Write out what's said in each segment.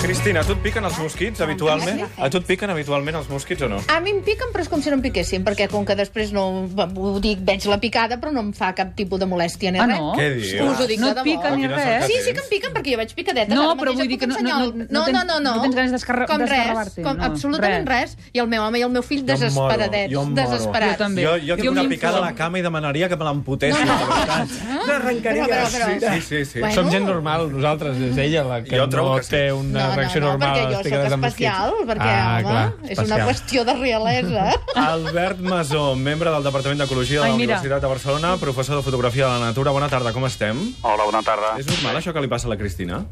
Cristina, a tu et piquen els mosquits habitualment? A tu et piquen habitualment els mosquits o no? A mi em piquen, però és com si no em piquessin, perquè com que després no ho dic, veig la picada, però no em fa cap tipus de molèstia ni Ah, res. no? Què dius? Us ho dic no de et debò. pica ni Quina res. sort. Sí, sí que em piquen, perquè jo vaig picadeta. No, ara però mateix vull et dir que puc no- ensenyar no- el- no- no tens- no, no, no tens ganes d'escarra- Com res, d'esgarravar-te, com no, absolutament res. I el meu home i el meu fill em moro, desesperadets, jo em moro. desesperats. Jo també. Jo, jo tinc Jo una m'informo. picada a la cama i demanaria que me l'amputessin. No, no. no. L'arrencaria. Però, però, però. Sí, sí, sí. Bueno. Som gent normal, nosaltres, és ella la que Jo trobo no que sí. té una no, reacció no, no, normal. a les perquè jo picades sóc amb mosquits. especial, perquè, ah, home, clar, és una especial. qüestió de realesa. Albert Masó, membre del Departament d'Ecologia de Ai, la mira. Universitat de Barcelona, professor de Fotografia de la Natura. Bona tarda, com estem? Hola, bona tarda. És normal això que li passa a la Cristina?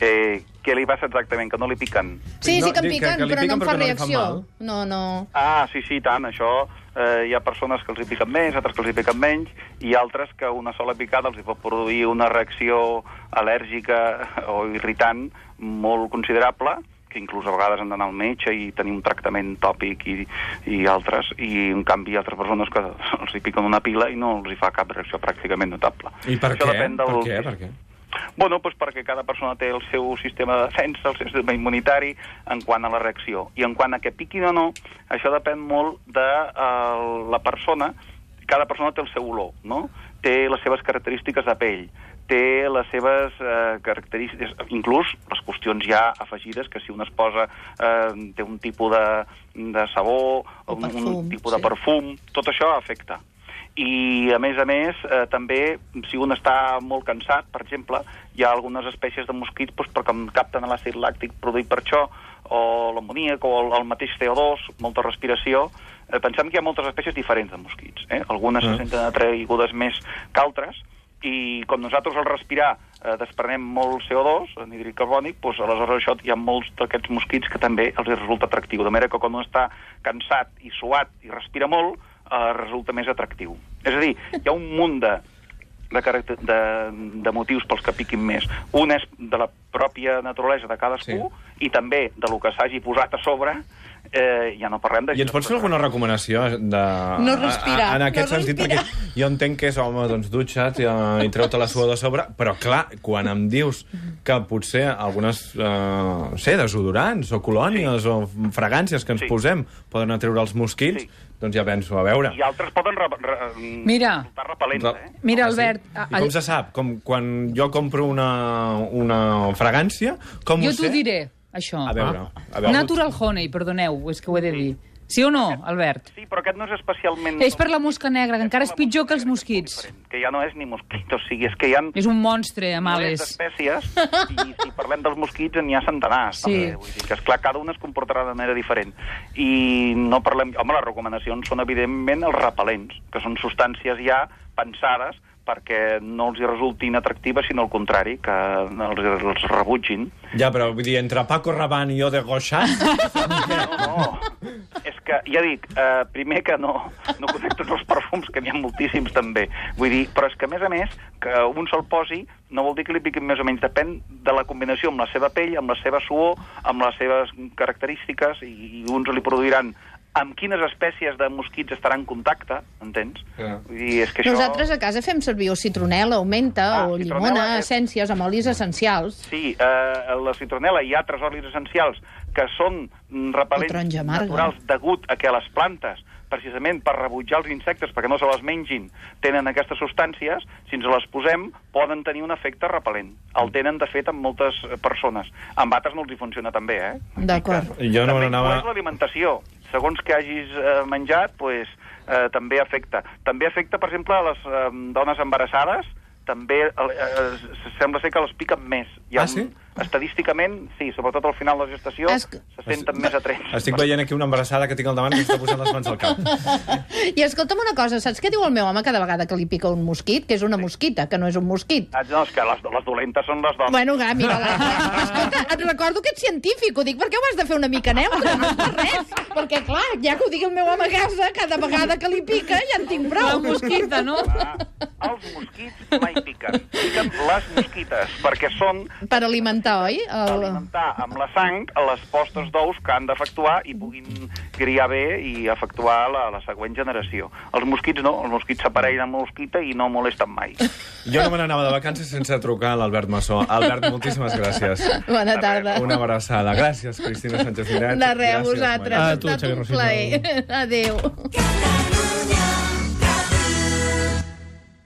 Eh, què li passa exactament? Que no li piquen? Sí, sí que em dic que- piquen, que li però no piquen, em però fa que no li fan reacció. mal. No, no. Ah, sí, sí, i tant, això... Eh, hi ha persones que els hi piquen més, altres que els hi piquen menys, i altres que una sola picada els hi pot produir una reacció al·lèrgica o irritant molt considerable, que inclús a vegades han d'anar al metge i tenir un tractament tòpic i, i altres, i en canvi hi ha altres persones que els hi piquen una pila i no els hi fa cap reacció pràcticament notable. I per Això què? depèn del- Per què? Per què? Bueno, doncs perquè cada persona té el seu sistema de defensa, el seu sistema immunitari, en quant a la reacció. I en quant a que piquin o no, això depèn molt de eh, la persona. Cada persona té el seu olor, no? Té les seves característiques de pell, té les seves eh, característiques, inclús les qüestions ja afegides, que si una esposa eh, té un tipus de, de sabó, O un, perfum, un tipus de sí. perfum, tot això afecta. I, a més a més, eh, també, si un està molt cansat, per exemple, hi ha algunes espècies de mosquits doncs, perquè em capten l'àcid làctic produït per això, o l'amoníac, o el, el mateix CO2, molta respiració... Eh, pensem que hi ha moltes espècies diferents de mosquits. Eh? Algunes Ah. se senten atraigudes més que altres, i com nosaltres al respirar eh, desprenem molt CO2, anhídrid carbònic, doncs, aleshores això hi ha molts d'aquests mosquits que també els hi resulta atractiu. De manera que quan un està cansat i suat i respira molt, eh, resulta més atractiu. És a dir, hi ha un munt de de, caràcter, de, de motius pels que piquin més. Un és de la pròpia naturalesa de cadascú sí. i també de lo que s'hagi posat a sobre, eh, ja no parlem de... I ens pots fer alguna recomanació de... No respirar, a- a- En no aquest sentit, respirar. perquè jo entenc que és home, doncs dutxa't i, eh, i treu-te la suor de sobre, però clar, quan em dius que potser algunes, eh, no sé, desodorants o colònies sí. o fragàncies que ens Sí. sí. posem poden atreure els mosquits, Sí. sí. doncs ja penso, a veure... I altres poden re, re, Mira. resultar repel·lents, eh? Mira, Home, Albert, Ah, Sí. a- I com se sap? Com quan jo compro una, una fragància, com Jo ho t'ho sé? diré, això. Ah. A veure, a veure. Natural Honey, perdoneu, és que ho he de dir. Sí o no, Albert? Sí, però aquest no és especialment... És per la mosca negra, que encara és pitjor que els mosquits. Que ja no és ni mosquit, o sigui, és que hi ha... És un monstre, amb milers ales. d'espècies, i si parlem dels mosquits n'hi ha centenars. Sí. També. Vull dir que, esclar, cada un es comportarà de manera diferent. I no parlem... Home, les recomanacions són, evidentment, els repel·lents, que són substàncies ja pensades perquè no els hi resultin atractives, sinó al contrari, que els, els rebutgin. Ja, però vull dir, entre Paco Rabanne i jo de Goixat... No, no. És que, ja dic, eh, primer que no, no conec tots els perfums, que n'hi ha moltíssims també. Vull dir, però és que, a més a més, que un se'l posi no vol dir que li piquin més o menys. Depèn de la combinació amb la seva pell, amb la seva suor, amb les seves característiques, i, i uns li produiran amb quines espècies de mosquits estarà en contacte, entens? Clar. Vull dir, és que això... Nosaltres a casa fem servir o citronel·la, o menta, Ah, o citronel·la llimona, és- essències amb olis essencials. Sí, eh, la citronel·la i altres olis essencials que són mm, repel·lents taronja amarga. naturals degut a que les plantes, precisament per rebutjar els insectes, perquè no se les mengin, tenen aquestes substàncies, si ens les posem, poden tenir un efecte repel·lent. El tenen, de fet, amb moltes eh, persones. Amb altres no els hi funciona també, eh? D'acord. Jo no també anava- influeix l'alimentació. Segons que hagis eh, menjat, pues, eh, també afecta. També afecta, per exemple, a les eh, dones embarassades, també eh, eh, sembla ser que les piquen més. Hi ha Ah, sí? Un, estadísticament, sí, sobretot al final de la gestació, Es- se senten més atrets. Estic veient aquí una embarassada que tinc al davant que està posant les mans al cap. I escolta'm una cosa, saps què diu el meu home cada vegada que li pica un mosquit? Que és una mosquita, que no és un mosquit. Ah, No, és que les, les dolentes són les dones. Bueno, ga, mira, la... Escolta, et recordo que ets científic, ho dic perquè ho has de fer una mica neutre, no és per res. Perquè, clar, ja que ho digui el meu home a casa, cada vegada que li pica ja en tinc La prou. mosquita, no? Ah, els mosquits mai piquen. Piquen les mosquites, perquè són Per alimentar-se. alimenta, oi? El... alimentar amb la sang les postes d'ous que han d'efectuar i puguin criar bé i efectuar la, la següent generació. Els mosquits no, els mosquits s'aparellen amb mosquita i no molesten mai. Jo no me n'anava de vacances sense trucar a l'Albert Massó. Albert, moltíssimes gràcies. Bona tarda. Una abraçada. Gràcies, Cristina Sánchez Miret. De res Gràcies, a Ah, Maria. vosaltres. Maria. Ha A tu, estat Xavier un Rosell. plaer. Adéu.